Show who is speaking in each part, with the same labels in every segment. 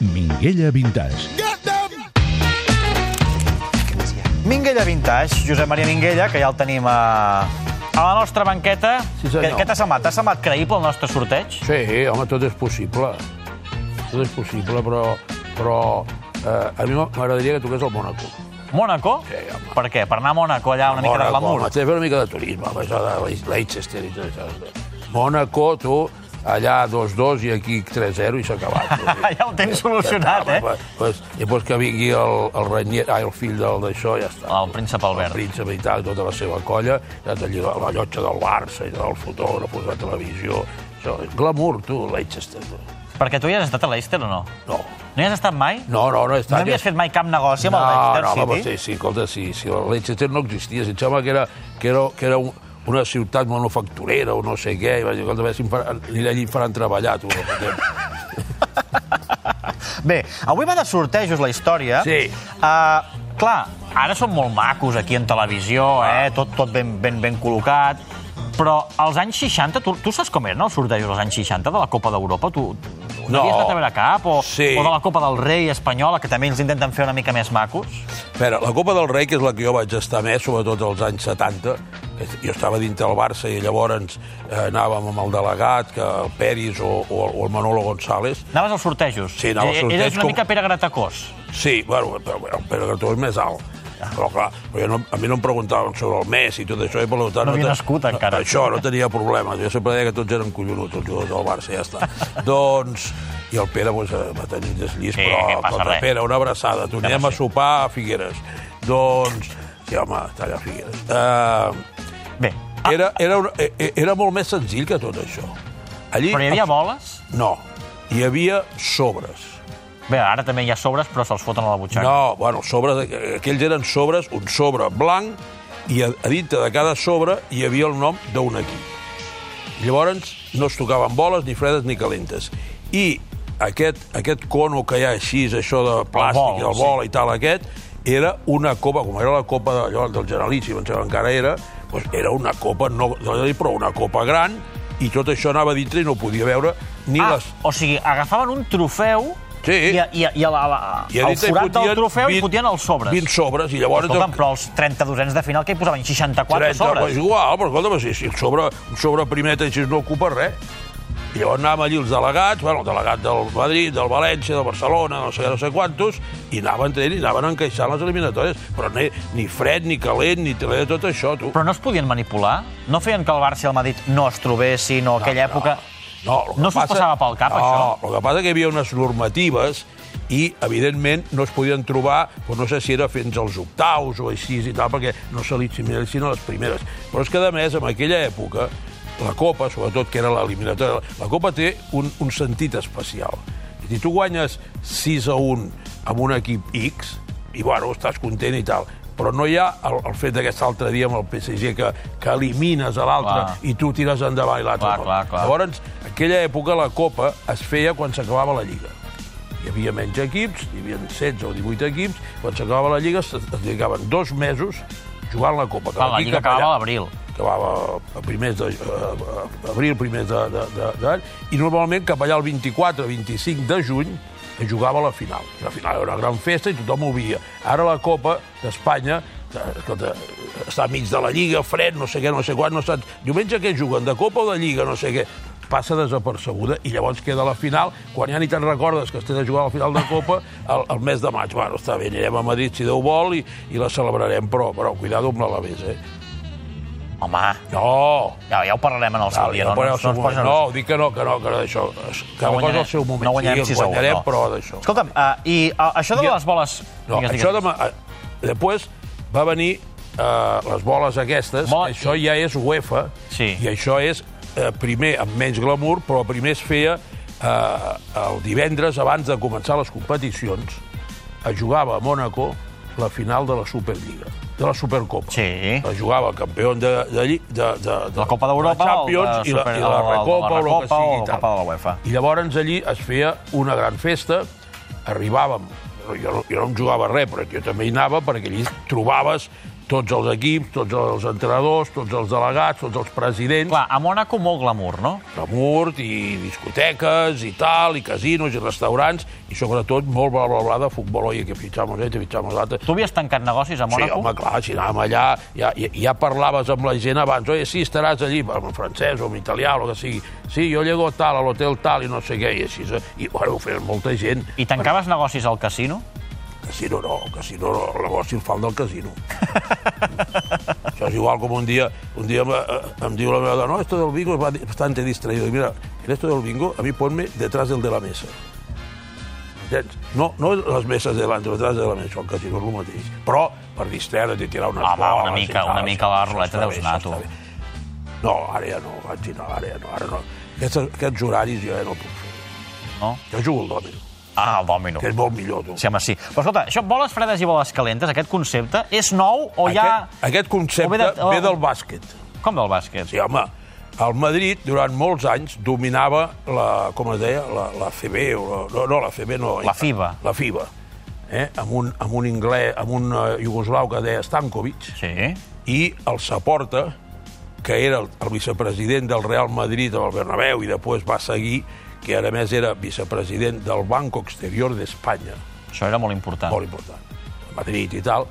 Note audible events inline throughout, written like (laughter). Speaker 1: Minguella Vintage.
Speaker 2: Minguella Vintage, Josep Maria Minguella, que ja el tenim a, a la nostra banqueta.
Speaker 3: Sí, senyor.
Speaker 2: què què t'ha semblat? T'ha semblat creïble el nostre sorteig?
Speaker 3: Sí, home, tot és possible. Tot és possible, però... però eh, a mi m'agradaria que toqués el Mónaco.
Speaker 2: Mònaco?
Speaker 3: Sí, home.
Speaker 2: per què? Per anar a Mònaco allà una mica de
Speaker 3: Mónaco,
Speaker 2: glamour?
Speaker 3: home, té una mica de turisme, home, això de Leis- Leicester i tot això. Mónaco, tu, allà 2-2 i aquí 3-0 i s'ha acabat.
Speaker 2: (laughs) Ja ho tens solucionat, eh?
Speaker 3: Pues, pues, I pues que vingui el, el, Renier, ai, el fill del d'això, ja està.
Speaker 2: El príncep Albert.
Speaker 3: El príncep i tal, tota la seva colla, ja t'ha lligat la llotja del Barça i del fotògraf, la televisió... Això, glamour, tu, Leicester. tu.
Speaker 2: Perquè tu ja has estat a l'Eister o no?
Speaker 3: No.
Speaker 2: No hi has estat mai?
Speaker 3: No, no, no he
Speaker 2: No
Speaker 3: estat...
Speaker 2: havies fet mai cap negoci amb el
Speaker 3: no, no,
Speaker 2: Leicester
Speaker 3: home,
Speaker 2: City?
Speaker 3: sí, sí, escolta, sí, sí, el Leicester no existia, si em sembla que era, que era, que era un, una ciutat manufacturera o no sé què, i vaig dir, escolta, a veure si em faran, ni allà em faran treballar, tu.
Speaker 2: Bé, avui va de sortejos la història.
Speaker 3: Sí.
Speaker 2: Uh, clar, ara són molt macos aquí en televisió,
Speaker 3: Ah.
Speaker 2: eh? tot, tot ben, ben, ben col·locat. Però als anys 60, tu, tu saps com eren els sortejos als anys 60 de la Copa d'Europa? Tu
Speaker 3: No.
Speaker 2: havies anat a veure cap? O,
Speaker 3: Sí.
Speaker 2: o de la Copa del Rei espanyola, que també els intenten fer una mica més macos?
Speaker 3: Espera, la Copa del Rei, que és la que jo vaig estar més, sobretot als anys 70, que jo estava dintre el Barça i llavors eh, anàvem amb el delegat, que el Peris o, o, el- o el Manolo González,
Speaker 2: Anaves als sortejos?
Speaker 3: Sí, anava als
Speaker 2: Eh,
Speaker 3: sortejos
Speaker 2: Eres una
Speaker 3: com-
Speaker 2: mica Pere Gratacós.
Speaker 3: Sí, bueno, però, però, però que tu és més alt. Però clar, però jo no, a mi no em preguntaven sobre el Messi i tot això, i per tant...
Speaker 2: No havia
Speaker 3: te-
Speaker 2: nascut encara.
Speaker 3: Això, no tenia problemes. Jo sempre deia que tots eren collonuts, els jugadors del Barça,
Speaker 2: (laughs)
Speaker 3: ja està. doncs... I el Pere pues, eh, va tenir deslís,
Speaker 2: Sí,
Speaker 3: però...
Speaker 2: que passa
Speaker 3: escolta,
Speaker 2: res.
Speaker 3: Pere, una abraçada. Tornem a sopar a Figueres. Doncs... Sí, home, està allà a Figueres. Uh,
Speaker 2: Bé,
Speaker 3: era, era, una, eh, eh, era molt més senzill que tot això. Allí,
Speaker 2: però hi havia boles?
Speaker 3: No, hi havia sobres.
Speaker 2: Bé, ara també hi ha sobres, però se'ls foten a la butxaca.
Speaker 3: No, bueno, sobres, eh, aquells eren sobres, un sobre blanc, i a, a dintre de cada sobre hi havia el nom d'un equip. Llavors, no es tocaven boles, ni fredes ni calentes. I aquest, aquest cono que hi ha així, això de plàstic,
Speaker 2: bol,
Speaker 3: el bol, el bol i tal, aquest, era una copa, com era la copa de, allò, del Generalíssim, em sembla que encara era, doncs era una copa, no, no dir, però una copa gran, i tot això anava dintre i no podia veure ni
Speaker 2: Ah,
Speaker 3: les...
Speaker 2: o sigui, agafaven un trofeu
Speaker 3: Sí.
Speaker 2: i, a- i, a- i a la, a la,
Speaker 3: I a
Speaker 2: al
Speaker 3: dintre hi
Speaker 2: forat del
Speaker 3: fotien
Speaker 2: trofeu
Speaker 3: 20
Speaker 2: hi fotien els sobres.
Speaker 3: 20 sobres, i llavors...
Speaker 2: Escolta'm, però els 32ens de final que hi posaven 64
Speaker 3: Però és
Speaker 2: sobres.
Speaker 3: igual, però escolta, però si, si el sobre, un sobre primeta així no ocupa res. I llavors anàvem allí els delegats, bueno, el delegat del Madrid, del València, del Barcelona, no sé, no sé quantos, i anaven traient i anaven encaixant les eliminatòries. Però ni, ni fred, ni calent, ni res de tot això, tu.
Speaker 2: Però no es podien manipular? No feien que el Barça i el Madrid no es trobessin o aquella època...
Speaker 3: No, el que
Speaker 2: No s'ho
Speaker 3: passa-
Speaker 2: passava pel cap,
Speaker 3: no,
Speaker 2: això?
Speaker 3: el que passa és que hi havia unes normatives i, evidentment, no es podien trobar, doncs no sé si era fins als octaus o així i tal, perquè no se li assimilessin a les primeres. Però és que, a més, en aquella època, la Copa, sobretot, que era l'eliminatòria, la Copa té un, un sentit especial. Si tu guanyes 6 a 1 amb un equip X, i, bueno, estàs content i tal, però no hi ha el, el fet d'aquest altre dia amb el PSG que, que elimines a
Speaker 2: Clar.
Speaker 3: l'altre i tu tires endavant i l'altre
Speaker 2: Clar,
Speaker 3: no.
Speaker 2: clar, clar.
Speaker 3: Llavors, Llavors, aquella època la Copa es feia quan s'acabava la Lliga. Hi havia menys equips, hi havia 16 o 18 equips, quan s'acabava la Lliga es, es dedicaven dos mesos jugant la Copa.
Speaker 2: Clar, la
Speaker 3: d'aquí
Speaker 2: Lliga
Speaker 3: cap allà-
Speaker 2: acabava a l'abril.
Speaker 3: acabava a primers de, a, a- abril, primers de, de, de, de, i normalment cap allà el 24 25 de juny es jugava la final. La final era una gran festa i tothom ho via. Ara la Copa d'Espanya eh, escolta, està mig de la Lliga, fred, no sé què, no sé quan, no saps... Diumenge què juguen, de Copa o de Lliga, no sé què passa desapercebuda i llavors queda la final, quan ja ni te'n recordes que estàs a jugar a la final de Copa el, el mes de maig. Bueno, està bé, anirem a Madrid si Déu vol i, i la celebrarem, però, però cuidado amb l'Alavés, eh?
Speaker 2: Home,
Speaker 3: No!
Speaker 2: ja, ja ho parlarem en el seu
Speaker 3: Val,
Speaker 2: dia.
Speaker 3: no,
Speaker 2: No, no, no, no,
Speaker 3: no, no,
Speaker 2: ens
Speaker 3: no,
Speaker 2: posa-
Speaker 3: no, dic que no, que no, que no d'això. Cada no cosa al seu moment.
Speaker 2: No guanyarem
Speaker 3: sí,
Speaker 2: 6 a 1.
Speaker 3: guanyarem,
Speaker 2: no.
Speaker 3: però d'això.
Speaker 2: Escolta'm, uh, i uh, això de
Speaker 3: Jo-
Speaker 2: les boles...
Speaker 3: No,
Speaker 2: digues, digues.
Speaker 3: això de... ma- eh, Després va venir eh, les boles aquestes,
Speaker 2: Bola-
Speaker 3: això ja és UEFA,
Speaker 2: Sí.
Speaker 3: i això és eh, primer amb menys glamour, però primer es feia eh, el divendres abans de començar les competicions, es jugava a Mònaco la final de la Superliga, de la Supercopa.
Speaker 2: Sí.
Speaker 3: Es jugava campió de, de, lli- de, de, de
Speaker 2: La Copa d'Europa,
Speaker 3: la
Speaker 2: el
Speaker 3: Champions
Speaker 2: de
Speaker 3: i la,
Speaker 2: Super-
Speaker 3: i
Speaker 2: el-
Speaker 3: la
Speaker 2: el de la
Speaker 3: Recopa, o el que
Speaker 2: Recopa o
Speaker 3: sigui.
Speaker 2: la
Speaker 3: i tal.
Speaker 2: Copa de la UEFA.
Speaker 3: I llavors allí es feia una gran festa, arribàvem, jo, no- jo no em jugava res, però jo també hi anava perquè allí trobaves tots els equips, tots els entrenadors, tots els delegats, tots els presidents,
Speaker 2: Clar, a Mònaco molt glamour, no?
Speaker 3: Ramurt, i discoteques, i tal, i casinos, i restaurants, i sobretot molt bla, bla, bla de futbol, oi, que fitxamos este, fitxamos l'altre.
Speaker 2: Tu havies tancat negocis a
Speaker 3: Sí,
Speaker 2: Mònaco?
Speaker 3: home, clar, si anàvem allà, ja, ja, ja parlaves amb la gent abans, oi, sí, estaràs allí, amb el francès o amb italià o el que sigui. Sí, jo llego tal, a l'hotel tal, i no sé què, i així. eh? I, bueno, ho feien molta gent.
Speaker 2: I tancaves negocis al casino?
Speaker 3: Casino no, casino no, el negoci el fan del casino. (laughs) Això és igual com un dia, un dia em, eh, em diu la meva dona, no, esto del bingo es va di- bastante distraído. I mira, en esto del bingo, a mi ponme detrás del de la mesa. Entens? No, no les meses delante, detrás de la mesa, el casino és el mateix. Però per distreure-te i tirar unes
Speaker 2: Ah, va, una
Speaker 3: boles i
Speaker 2: mica-
Speaker 3: tal,
Speaker 2: una
Speaker 3: això-
Speaker 2: mica a la
Speaker 3: això
Speaker 2: ruleta
Speaker 3: està
Speaker 2: deus
Speaker 3: bé,
Speaker 2: anar,
Speaker 3: això
Speaker 2: tu.
Speaker 3: està bé. No, ara ja no, vaig dir, no, ara ja no, ara no. Aquests, aquests horaris jo ja no puc fer.
Speaker 2: No?
Speaker 3: Jo jugo al dòmino,
Speaker 2: Ah, el dòmino.
Speaker 3: que és molt millor, tu.
Speaker 2: Sí, home, sí. Però escolta, això, boles fredes i boles calentes, aquest concepte, és nou o ja...
Speaker 3: Aquest, aquest
Speaker 2: o ve
Speaker 3: concepte
Speaker 2: de- o-
Speaker 3: ve del bàsquet.
Speaker 2: Com del bàsquet?
Speaker 3: Sí, home, el Madrid durant molts anys dominava la, com es deia, la, la FB, o la, no, no, la FB no.
Speaker 2: La FIBA.
Speaker 3: La FIBA, eh? amb, un, amb un anglès, amb un eh, iugoslau que deia Stankovic,
Speaker 2: Sí.
Speaker 3: i el Saporta, que era el, el vicepresident del Real Madrid amb el Bernabéu i després va seguir, que ara més era vicepresident del Banco Exterior d'Espanya,
Speaker 2: Això era molt important.
Speaker 3: molt important, a Madrid i tal,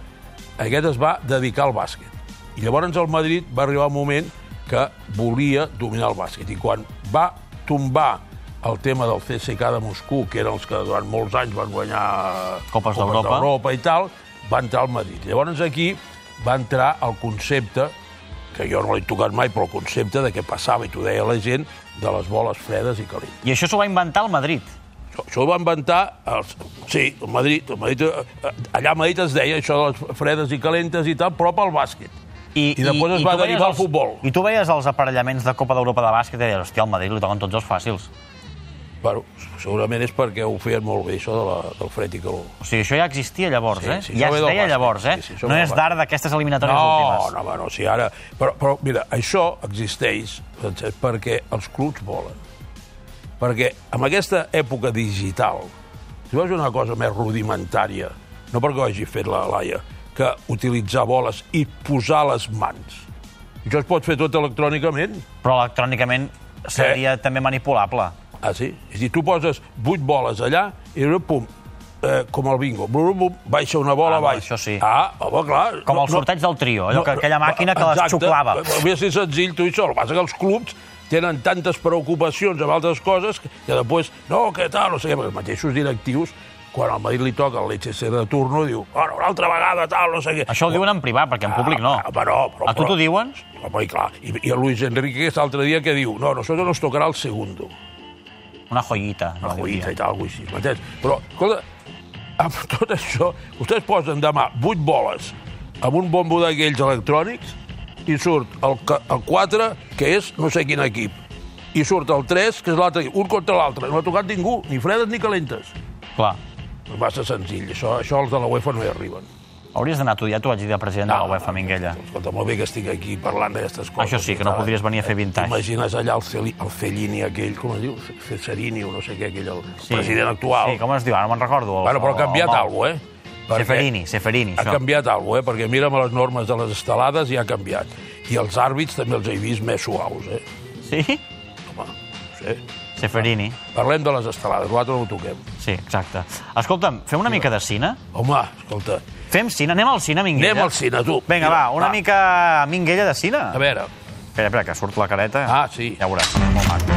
Speaker 3: aquest es va dedicar al bàsquet. I llavors el Madrid va arribar un moment que volia dominar el bàsquet. I quan va tombar el tema del CSK de Moscou, que eren els que durant molts anys van guanyar
Speaker 2: Copes d'Europa.
Speaker 3: d'Europa i tal, va entrar al Madrid. Llavors aquí va entrar el concepte, que jo no l'he tocat mai, però el concepte de què passava, i t'ho deia la gent, de les boles fredes i calentes.
Speaker 2: I això s'ho va inventar el Madrid.
Speaker 3: Això, això ho va inventar... Els, sí, el Madrid, el Madrid, eh, allà a Madrid es deia això de les fredes i calentes i tal, però pel bàsquet. I després es va
Speaker 2: tu veies
Speaker 3: derivar al
Speaker 2: els-
Speaker 3: futbol.
Speaker 2: I tu veies els aparellaments de Copa d'Europa de bàsquet i deies, hòstia, al Madrid li toquen tots els fàcils.
Speaker 3: Bueno, segurament és perquè ho feien molt bé, això de la, del fred i calor.
Speaker 2: O sigui, això ja existia llavors,
Speaker 3: Sí,
Speaker 2: eh?
Speaker 3: sí,
Speaker 2: ja
Speaker 3: això ve
Speaker 2: es
Speaker 3: del
Speaker 2: deia
Speaker 3: bàsquet,
Speaker 2: llavors, eh?
Speaker 3: sí, sí, això ve
Speaker 2: no
Speaker 3: del
Speaker 2: és
Speaker 3: bàsquet.
Speaker 2: d'ara d'aquestes eliminatòries
Speaker 3: No,
Speaker 2: últimes.
Speaker 3: no, bueno, si ara... Però, però mira, això existeix Francesc, perquè els clubs volen. Perquè en aquesta època digital, si veus una cosa més rudimentària, no perquè ho hagi fet la Laia, que utilitzar boles i posar les mans. Això es pot fer tot electrònicament.
Speaker 2: Però electrònicament seria també manipulable.
Speaker 3: Ah, sí? És a dir, tu poses vuit boles allà i llavors, pum, eh, com el bingo, bum, bum, bum, baixa una bola,
Speaker 2: Ah, no,
Speaker 3: baix.
Speaker 2: això sí.
Speaker 3: Ah, home, clar.
Speaker 2: Com el sorteig del trio, allò que aquella màquina que les
Speaker 3: exacte. Eh,
Speaker 2: xuclava.
Speaker 3: Hauria de ser senzill, tu i això. El que passa és que els clubs tenen tantes preocupacions amb altres coses que, que després, no, què tal, no sé què, perquè els mateixos directius, quan al Madrid li toca el l'HC de turno, diu, bueno, una altra vegada, tal, no sé què.
Speaker 2: Això ho diuen en privat, perquè en públic no.
Speaker 3: Ah, però, però,
Speaker 2: A tu
Speaker 3: però-
Speaker 2: t'ho diuen?
Speaker 3: Home, i clar, i, i a Luis Enrique l'altre dia que diu, no, nosotros nos tocará el segundo
Speaker 2: Una joyita.
Speaker 3: la
Speaker 2: no
Speaker 3: guita
Speaker 2: diria.
Speaker 3: i tal, alguna cosa així, m'entens? Però, escolta, (laughs) amb tot això, vostès posen demà vuit boles amb un bombo d'aquells electrònics i surt el, ca- el 4, que és no sé quin equip, i surt el 3, que és l'altre equip, un contra l'altre. No ha tocat ningú, ni fredes ni calentes.
Speaker 2: Clar.
Speaker 3: És massa senzill, això, això els de la UEFA no hi arriben.
Speaker 2: Hauries d'anar tu, ja t'ho vaig dir de president de
Speaker 3: No,
Speaker 2: la UEFA, Minguella.
Speaker 3: Escolta, molt bé que estic aquí parlant d'aquestes coses.
Speaker 2: Això sí, que no
Speaker 3: Ara,
Speaker 2: podries venir a fer vintage.
Speaker 3: T'imagines allà el, Celi, el Fellini aquell, com es diu? Cesarini o no sé què, aquell, el president actual.
Speaker 2: Sí, com es diu? Ara no me'n recordo. el-
Speaker 3: Bueno,
Speaker 2: el-
Speaker 3: però ha canviat
Speaker 2: el-
Speaker 3: alguna cosa, eh?
Speaker 2: Seferini, Seferini,
Speaker 3: Ha
Speaker 2: això.
Speaker 3: canviat alguna cosa, eh? Perquè mira'm les normes de les estelades i ha canviat. I els àrbits també els he vist més suaus, eh?
Speaker 2: Sí?
Speaker 3: Home, no sé.
Speaker 2: Seferini.
Speaker 3: Parlem de les estelades, l'altre no ho toquem.
Speaker 2: Sí, exacte. Escolta'm, fem una mica de cine?
Speaker 3: Home, escolta,
Speaker 2: Fem cine? Anem al cine, Minguella?
Speaker 3: anem al cine, tu.
Speaker 2: Vinga, va, una mica Minguella de cine.
Speaker 3: A veure,
Speaker 2: Espera, espera, que surt la careta.
Speaker 3: Ah, sí.
Speaker 2: Ja veuràs, molt maco.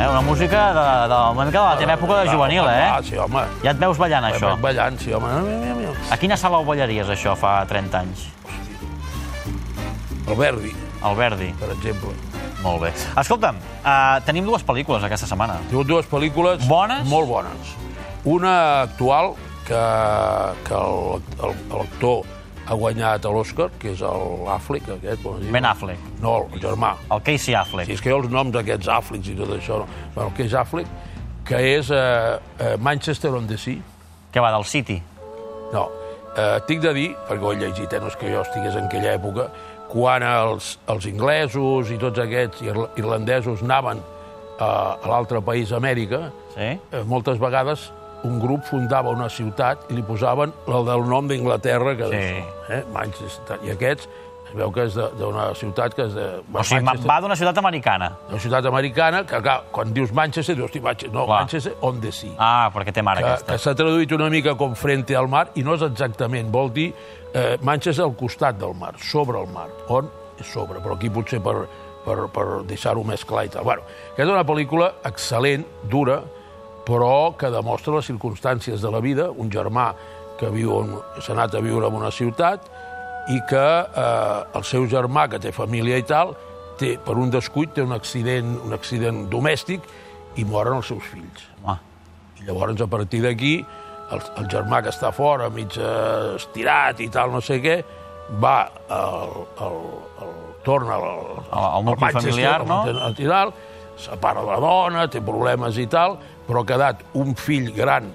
Speaker 2: Eh, una música de, de, de, de la teva època de juvenil,
Speaker 3: Ah,
Speaker 2: eh?
Speaker 3: sí, home.
Speaker 2: Ja et veus ballant, això.
Speaker 3: Això. Ballant, sí, home. Mira, mira, mira.
Speaker 2: A quina sala ho ballaries, això, fa 30 anys?
Speaker 3: El Verdi,
Speaker 2: Al Verdi.
Speaker 3: per exemple.
Speaker 2: Molt bé. Escolta'm, uh, tenim dues pel·lícules aquesta setmana.
Speaker 3: Diuen dues pel·lícules...
Speaker 2: Bones?
Speaker 3: Molt bones. Una actual, que, que el- el- l'actor ha guanyat a l'Oscar, que és l'Àfric, aquest. Com es diu?
Speaker 2: Ben Affleck.
Speaker 3: No, el germà.
Speaker 2: El Casey Affleck.
Speaker 3: Si és que jo els noms aquests Afflecks i tot això... No. Bueno, que és Affleck, que és eh, eh, Manchester on the Sea.
Speaker 2: Que va del City.
Speaker 3: No, eh, t'he de dir, perquè ho he llegit, eh, no és que jo estigués en aquella època, quan els, els inglesos i tots aquests irl- irlandesos anaven eh, a l'altre país, Amèrica,
Speaker 2: Sí.
Speaker 3: eh, moltes vegades un grup fundava una ciutat i li posaven el del nom d'Inglaterra, que
Speaker 2: Sí.
Speaker 3: eh, Manchester. I aquests es veu que és de- d'una ciutat que és de...
Speaker 2: O sigui, ma-
Speaker 3: Manchester-
Speaker 2: va d'una ciutat americana.
Speaker 3: una ciutat americana, que clar, quan dius Manchester, dius, hosti, Manchester, no,
Speaker 2: Clar.
Speaker 3: Manchester on the sea.
Speaker 2: Ah, perquè té mare
Speaker 3: que
Speaker 2: aquesta.
Speaker 3: que s'ha traduït una mica com frente al mar, i no és exactament, vol dir eh, Manchester al costat del mar, sobre el mar, on és sobre, però aquí potser per, per, per deixar-ho més clar i tal. Bueno, que és una pel·lícula excel·lent, dura, però que demostra les circumstàncies de la vida, un germà que viu en, s'ha anat a viure en una ciutat i que eh, el seu germà, que té família i tal, té, per un descuit té un accident, un accident domèstic i moren els seus fills.
Speaker 2: Home,
Speaker 3: I llavors, a partir d'aquí, el, el germà que està fora, mig eh, estirat i tal, no sé què, va, el, el, el, torna al,
Speaker 2: Al- al nucli familiar, no?
Speaker 3: A Tidal, separa la dona, té problemes i tal, però ha quedat un fill gran,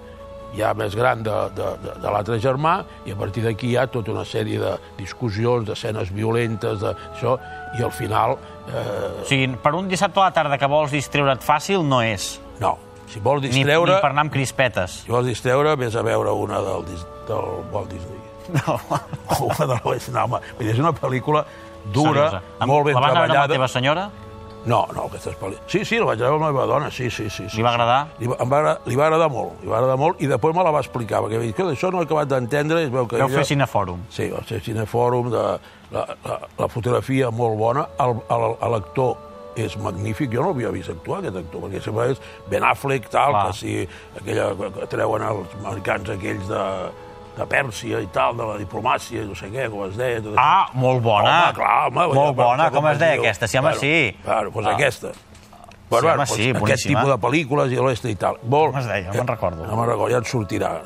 Speaker 3: ja més gran de, de, de, de l'altre germà, i a partir d'aquí hi ha tota una sèrie de discussions, d'escenes violentes, de, això, i al final eh,
Speaker 2: O sigui, per un dissabte a la tarda que vols distreure't fàcil, no és.
Speaker 3: no. Si vols
Speaker 2: Ni, ni
Speaker 3: distreure,
Speaker 2: per anar amb crispetes.
Speaker 3: si vols distreure, vés a veure una del, Dis- del Walt
Speaker 2: (laughs)
Speaker 3: Disney.
Speaker 2: No.
Speaker 3: o una de l'Oest. No, home, vull dir, és una pel·lícula dura,
Speaker 2: Amb-
Speaker 3: eh? molt ben
Speaker 2: La vas anar a veure amb la
Speaker 3: treballada.
Speaker 2: teva senyora?
Speaker 3: No, no, aquestes pel·lícules. Sí, sí, la vaig veure amb la meva dona, sí, sí, sí. sí
Speaker 2: Li va agradar?
Speaker 3: Li va, em va, agradar- li va agradar molt, li va agradar molt, i després me la va explicar, perquè vaig dir, "Escolta, això no he acabat d'entendre, i es veu que
Speaker 2: Vau fer cinefòrum.
Speaker 3: Sí, va ser cinefòrum, de, la, la, la fotografia molt bona, el- el- el- l'actor és magnífic, jo no l'havia vist actuar, aquest actor, perquè sempre és Ben Affleck, tal,
Speaker 2: Clar.
Speaker 3: que si aquella, que- que treuen els americans aquells de, de Pèrsia i tal, de la diplomàcia, no sé què, com es deia... Tot això.
Speaker 2: Ah, molt bona.
Speaker 3: Home, clar, home,
Speaker 2: molt
Speaker 3: ja,
Speaker 2: bona, com es deia
Speaker 3: diu?
Speaker 2: aquesta? Sí, home,
Speaker 3: Bueno,
Speaker 2: sí.
Speaker 3: Claro, doncs
Speaker 2: Ah.
Speaker 3: aquesta.
Speaker 2: Sí, home, sí,
Speaker 3: aquest
Speaker 2: boníssima.
Speaker 3: tipus de pel·lícules i l'oest i tal. Vol,
Speaker 2: Com es deia? No me'n recordo.
Speaker 3: No me'n recordo, ja et sortirà.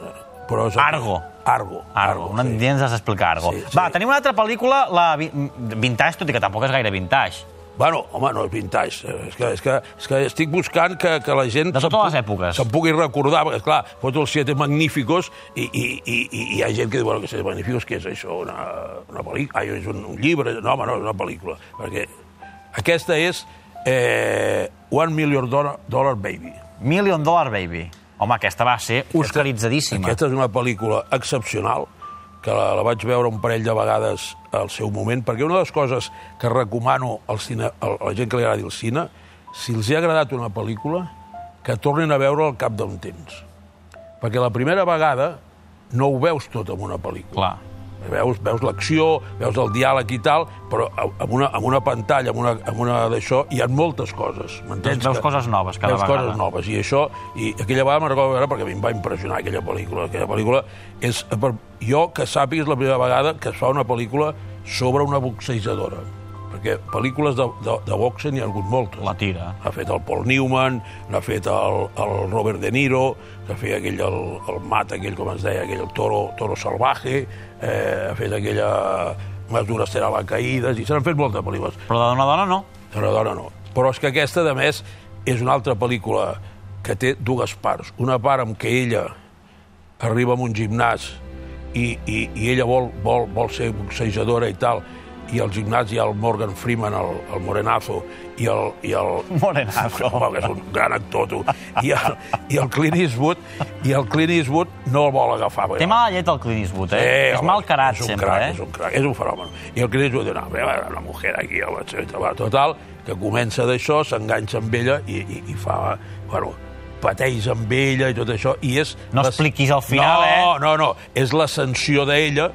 Speaker 3: Però és...
Speaker 2: Argo.
Speaker 3: Argo.
Speaker 2: Argo, un sí. dia ens has d'explicar Argo.
Speaker 3: Sí,
Speaker 2: Sí,
Speaker 3: sí.
Speaker 2: sí. Va, tenim una altra pel·lícula, la vi- Vintage, tot i que tampoc és gaire vintage.
Speaker 3: Bueno, home, no és vintage. eh, És que, és que, és que estic buscant que, que la gent...
Speaker 2: De totes
Speaker 3: se'n pu-
Speaker 2: les èpoques.
Speaker 3: Se'n pugui recordar, perquè, esclar, foto els siete magníficos i, i, i, i hi ha gent que diu, bueno, que siete magníficos, què és això? Una, una pel·lícula? Ai, és un, un llibre? No, home, no, és una pel·lícula. Perquè aquesta és eh, One Million Dollar, Dollar Baby.
Speaker 2: Million Dollar Baby. Home, aquesta va ser oscaritzadíssima. Aquesta...
Speaker 3: Aquesta és una pel·lícula excepcional, que la, la vaig veure un parell de vegades al seu moment, perquè una de les coses que recomano al cine, al- a la gent que li agradi el cine, si els hi ha agradat una pel·lícula, que tornin a veure al cap d'un temps. Perquè la primera vegada no ho veus tot en una
Speaker 2: Clar.
Speaker 3: pel·lícula. Veus, veus l'acció, veus el diàleg i tal, però a- amb una, amb una pantalla, amb una, amb una d'això, hi ha moltes coses. m'entens?
Speaker 2: Doncs veus
Speaker 3: Que-
Speaker 2: coses noves cada
Speaker 3: veus
Speaker 2: vegada.
Speaker 3: Coses noves, I això, i aquella vegada me'n recordo veure perquè a mi em va impressionar aquella pel·lícula. Aquella pel·lícula és, per, jo que sàpiga, és la primera vegada que es fa una pel·lícula sobre una boxejadora. Perquè pel·lícules de, de, de boxe n'hi ha hagut moltes.
Speaker 2: La tira.
Speaker 3: L'ha fet el Paul Newman, l'ha fet el, el Robert De Niro, que feia aquell, el, el mat, aquell, com es deia, aquell el toro, toro salvaje, eh, ha fet aquella... Más dura serà la caïda, i se n'han fet moltes pel·lícules.
Speaker 2: Però de dona a dona no.
Speaker 3: Dona, dona, no. Però és que aquesta, de més, és una altra pel·lícula que té dues parts. Una part amb què ella arriba a un gimnàs i, i, i ella vol, vol, vol ser boxejadora i tal, i al gimnàs hi ha el Morgan Freeman, el, el Morenazo, i el... I el...
Speaker 2: Morenazo.
Speaker 3: Home, que és un gran actor, tu. I el, i el Clint Eastwood, i el Clint Eastwood no el vol agafar.
Speaker 2: Té mala llet el Clint Eastwood, eh?
Speaker 3: Eh,
Speaker 2: és
Speaker 3: home,
Speaker 2: mal carat
Speaker 3: és un
Speaker 2: sempre,
Speaker 3: crac,
Speaker 2: eh?
Speaker 3: És un crac, és un fenomen. I el Cris ho diu, no, a veure, una mujer aquí, home, etcètera, va, total, que comença d'això, s'enganxa amb ella i, i, i fa, bueno, pateix amb ella i tot això, i és...
Speaker 2: No
Speaker 3: l'as-
Speaker 2: expliquis al final,
Speaker 3: no,
Speaker 2: eh?
Speaker 3: No, no, és l'ascensió d'ella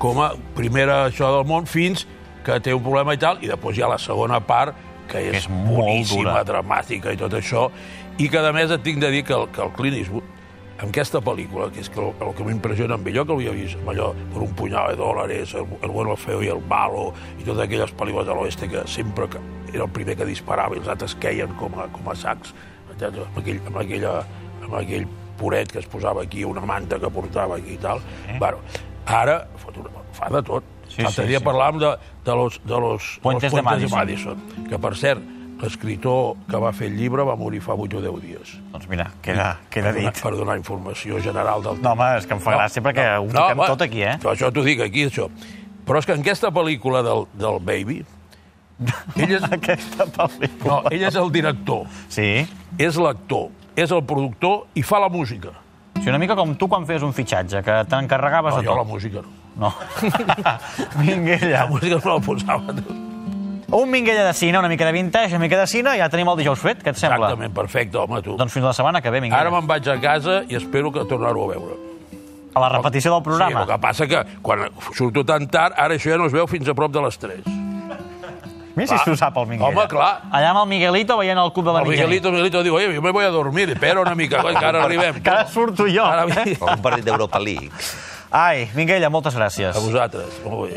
Speaker 3: com a primera això del món fins que té un problema i tal, i després hi ha la segona part, que és,
Speaker 2: és molt
Speaker 3: boníssima,
Speaker 2: dura.
Speaker 3: dramàtica i tot això, i que, a més, et tinc de dir que el, que el Clint Eastwood, amb aquesta pel·lícula, que és que el, el que m'impressiona amb ell, jo que l'havia vist amb allò per un punyal de dòlars, el, el bueno, el feo i el malo, i totes aquelles pel·lícules de l'oest que sempre que era el primer que disparava i els altres queien com a, com a sacs, etcètera, amb aquell, amb, aquella, amb aquell puret que es posava aquí, una manta que portava aquí i tal. Eh? Bueno, ara fot una, fa de tot.
Speaker 2: Sí,
Speaker 3: Sí, L'altre
Speaker 2: sí,
Speaker 3: dia
Speaker 2: sí.
Speaker 3: parlàvem de, de los, de los
Speaker 2: Puentes de
Speaker 3: Puentes
Speaker 2: Madison.
Speaker 3: Madison, que, per cert, l'escriptor que va fer el llibre va morir fa 8 o 10 dies.
Speaker 2: Doncs mira, queda, queda
Speaker 3: Per donar-
Speaker 2: dit.
Speaker 3: Per donar informació general del
Speaker 2: No, home, és que em fa gràcia perquè ho toquem
Speaker 3: home,
Speaker 2: tot aquí, eh? (laughs)
Speaker 3: Això, això t'ho dic, aquí, això. Però és que en aquesta pel·lícula del, del Baby Ell és,
Speaker 2: Aquesta pel·lícula.
Speaker 3: no, ell és el director,
Speaker 2: Sí.
Speaker 3: és l'actor, és el productor i fa la música.
Speaker 2: Sí, una mica com tu quan feies un fitxatge, que t'encarregaves
Speaker 3: No,
Speaker 2: de
Speaker 3: jo la
Speaker 2: tot.
Speaker 3: música no.
Speaker 2: No. (laughs) Minguella.
Speaker 3: La música no la posava.
Speaker 2: Un Minguella de cine, una mica de vintage, una mica de cine, ja tenim el dijous fet, què et sembla?
Speaker 3: Exactament, perfecte, home, tu.
Speaker 2: Doncs fins la setmana que ve, Minguella.
Speaker 3: Ara me'n vaig a casa i espero que tornar-ho a veure.
Speaker 2: A la repetició del
Speaker 3: Sí,
Speaker 2: programa.
Speaker 3: el que passa que quan surto tan tard, ara això ja no es veu fins a prop de les 3.
Speaker 2: Mira si s'ho sap, el Minguella.
Speaker 3: Home, clar.
Speaker 2: Allà amb el Miguelito veient el club de la
Speaker 3: El
Speaker 2: mitjanit.
Speaker 3: Miguelito, el Miguelito diu, oye, yo me voy a dormir, espera una mica, que
Speaker 2: (laughs)
Speaker 3: ara arribem.
Speaker 2: Que ara surto jo.
Speaker 3: Ara
Speaker 2: eh?
Speaker 3: vinc. (laughs)
Speaker 1: O un partit d'Europa League.
Speaker 2: Ai, Minguella, moltes gràcies.
Speaker 3: A vosaltres. Molt bé.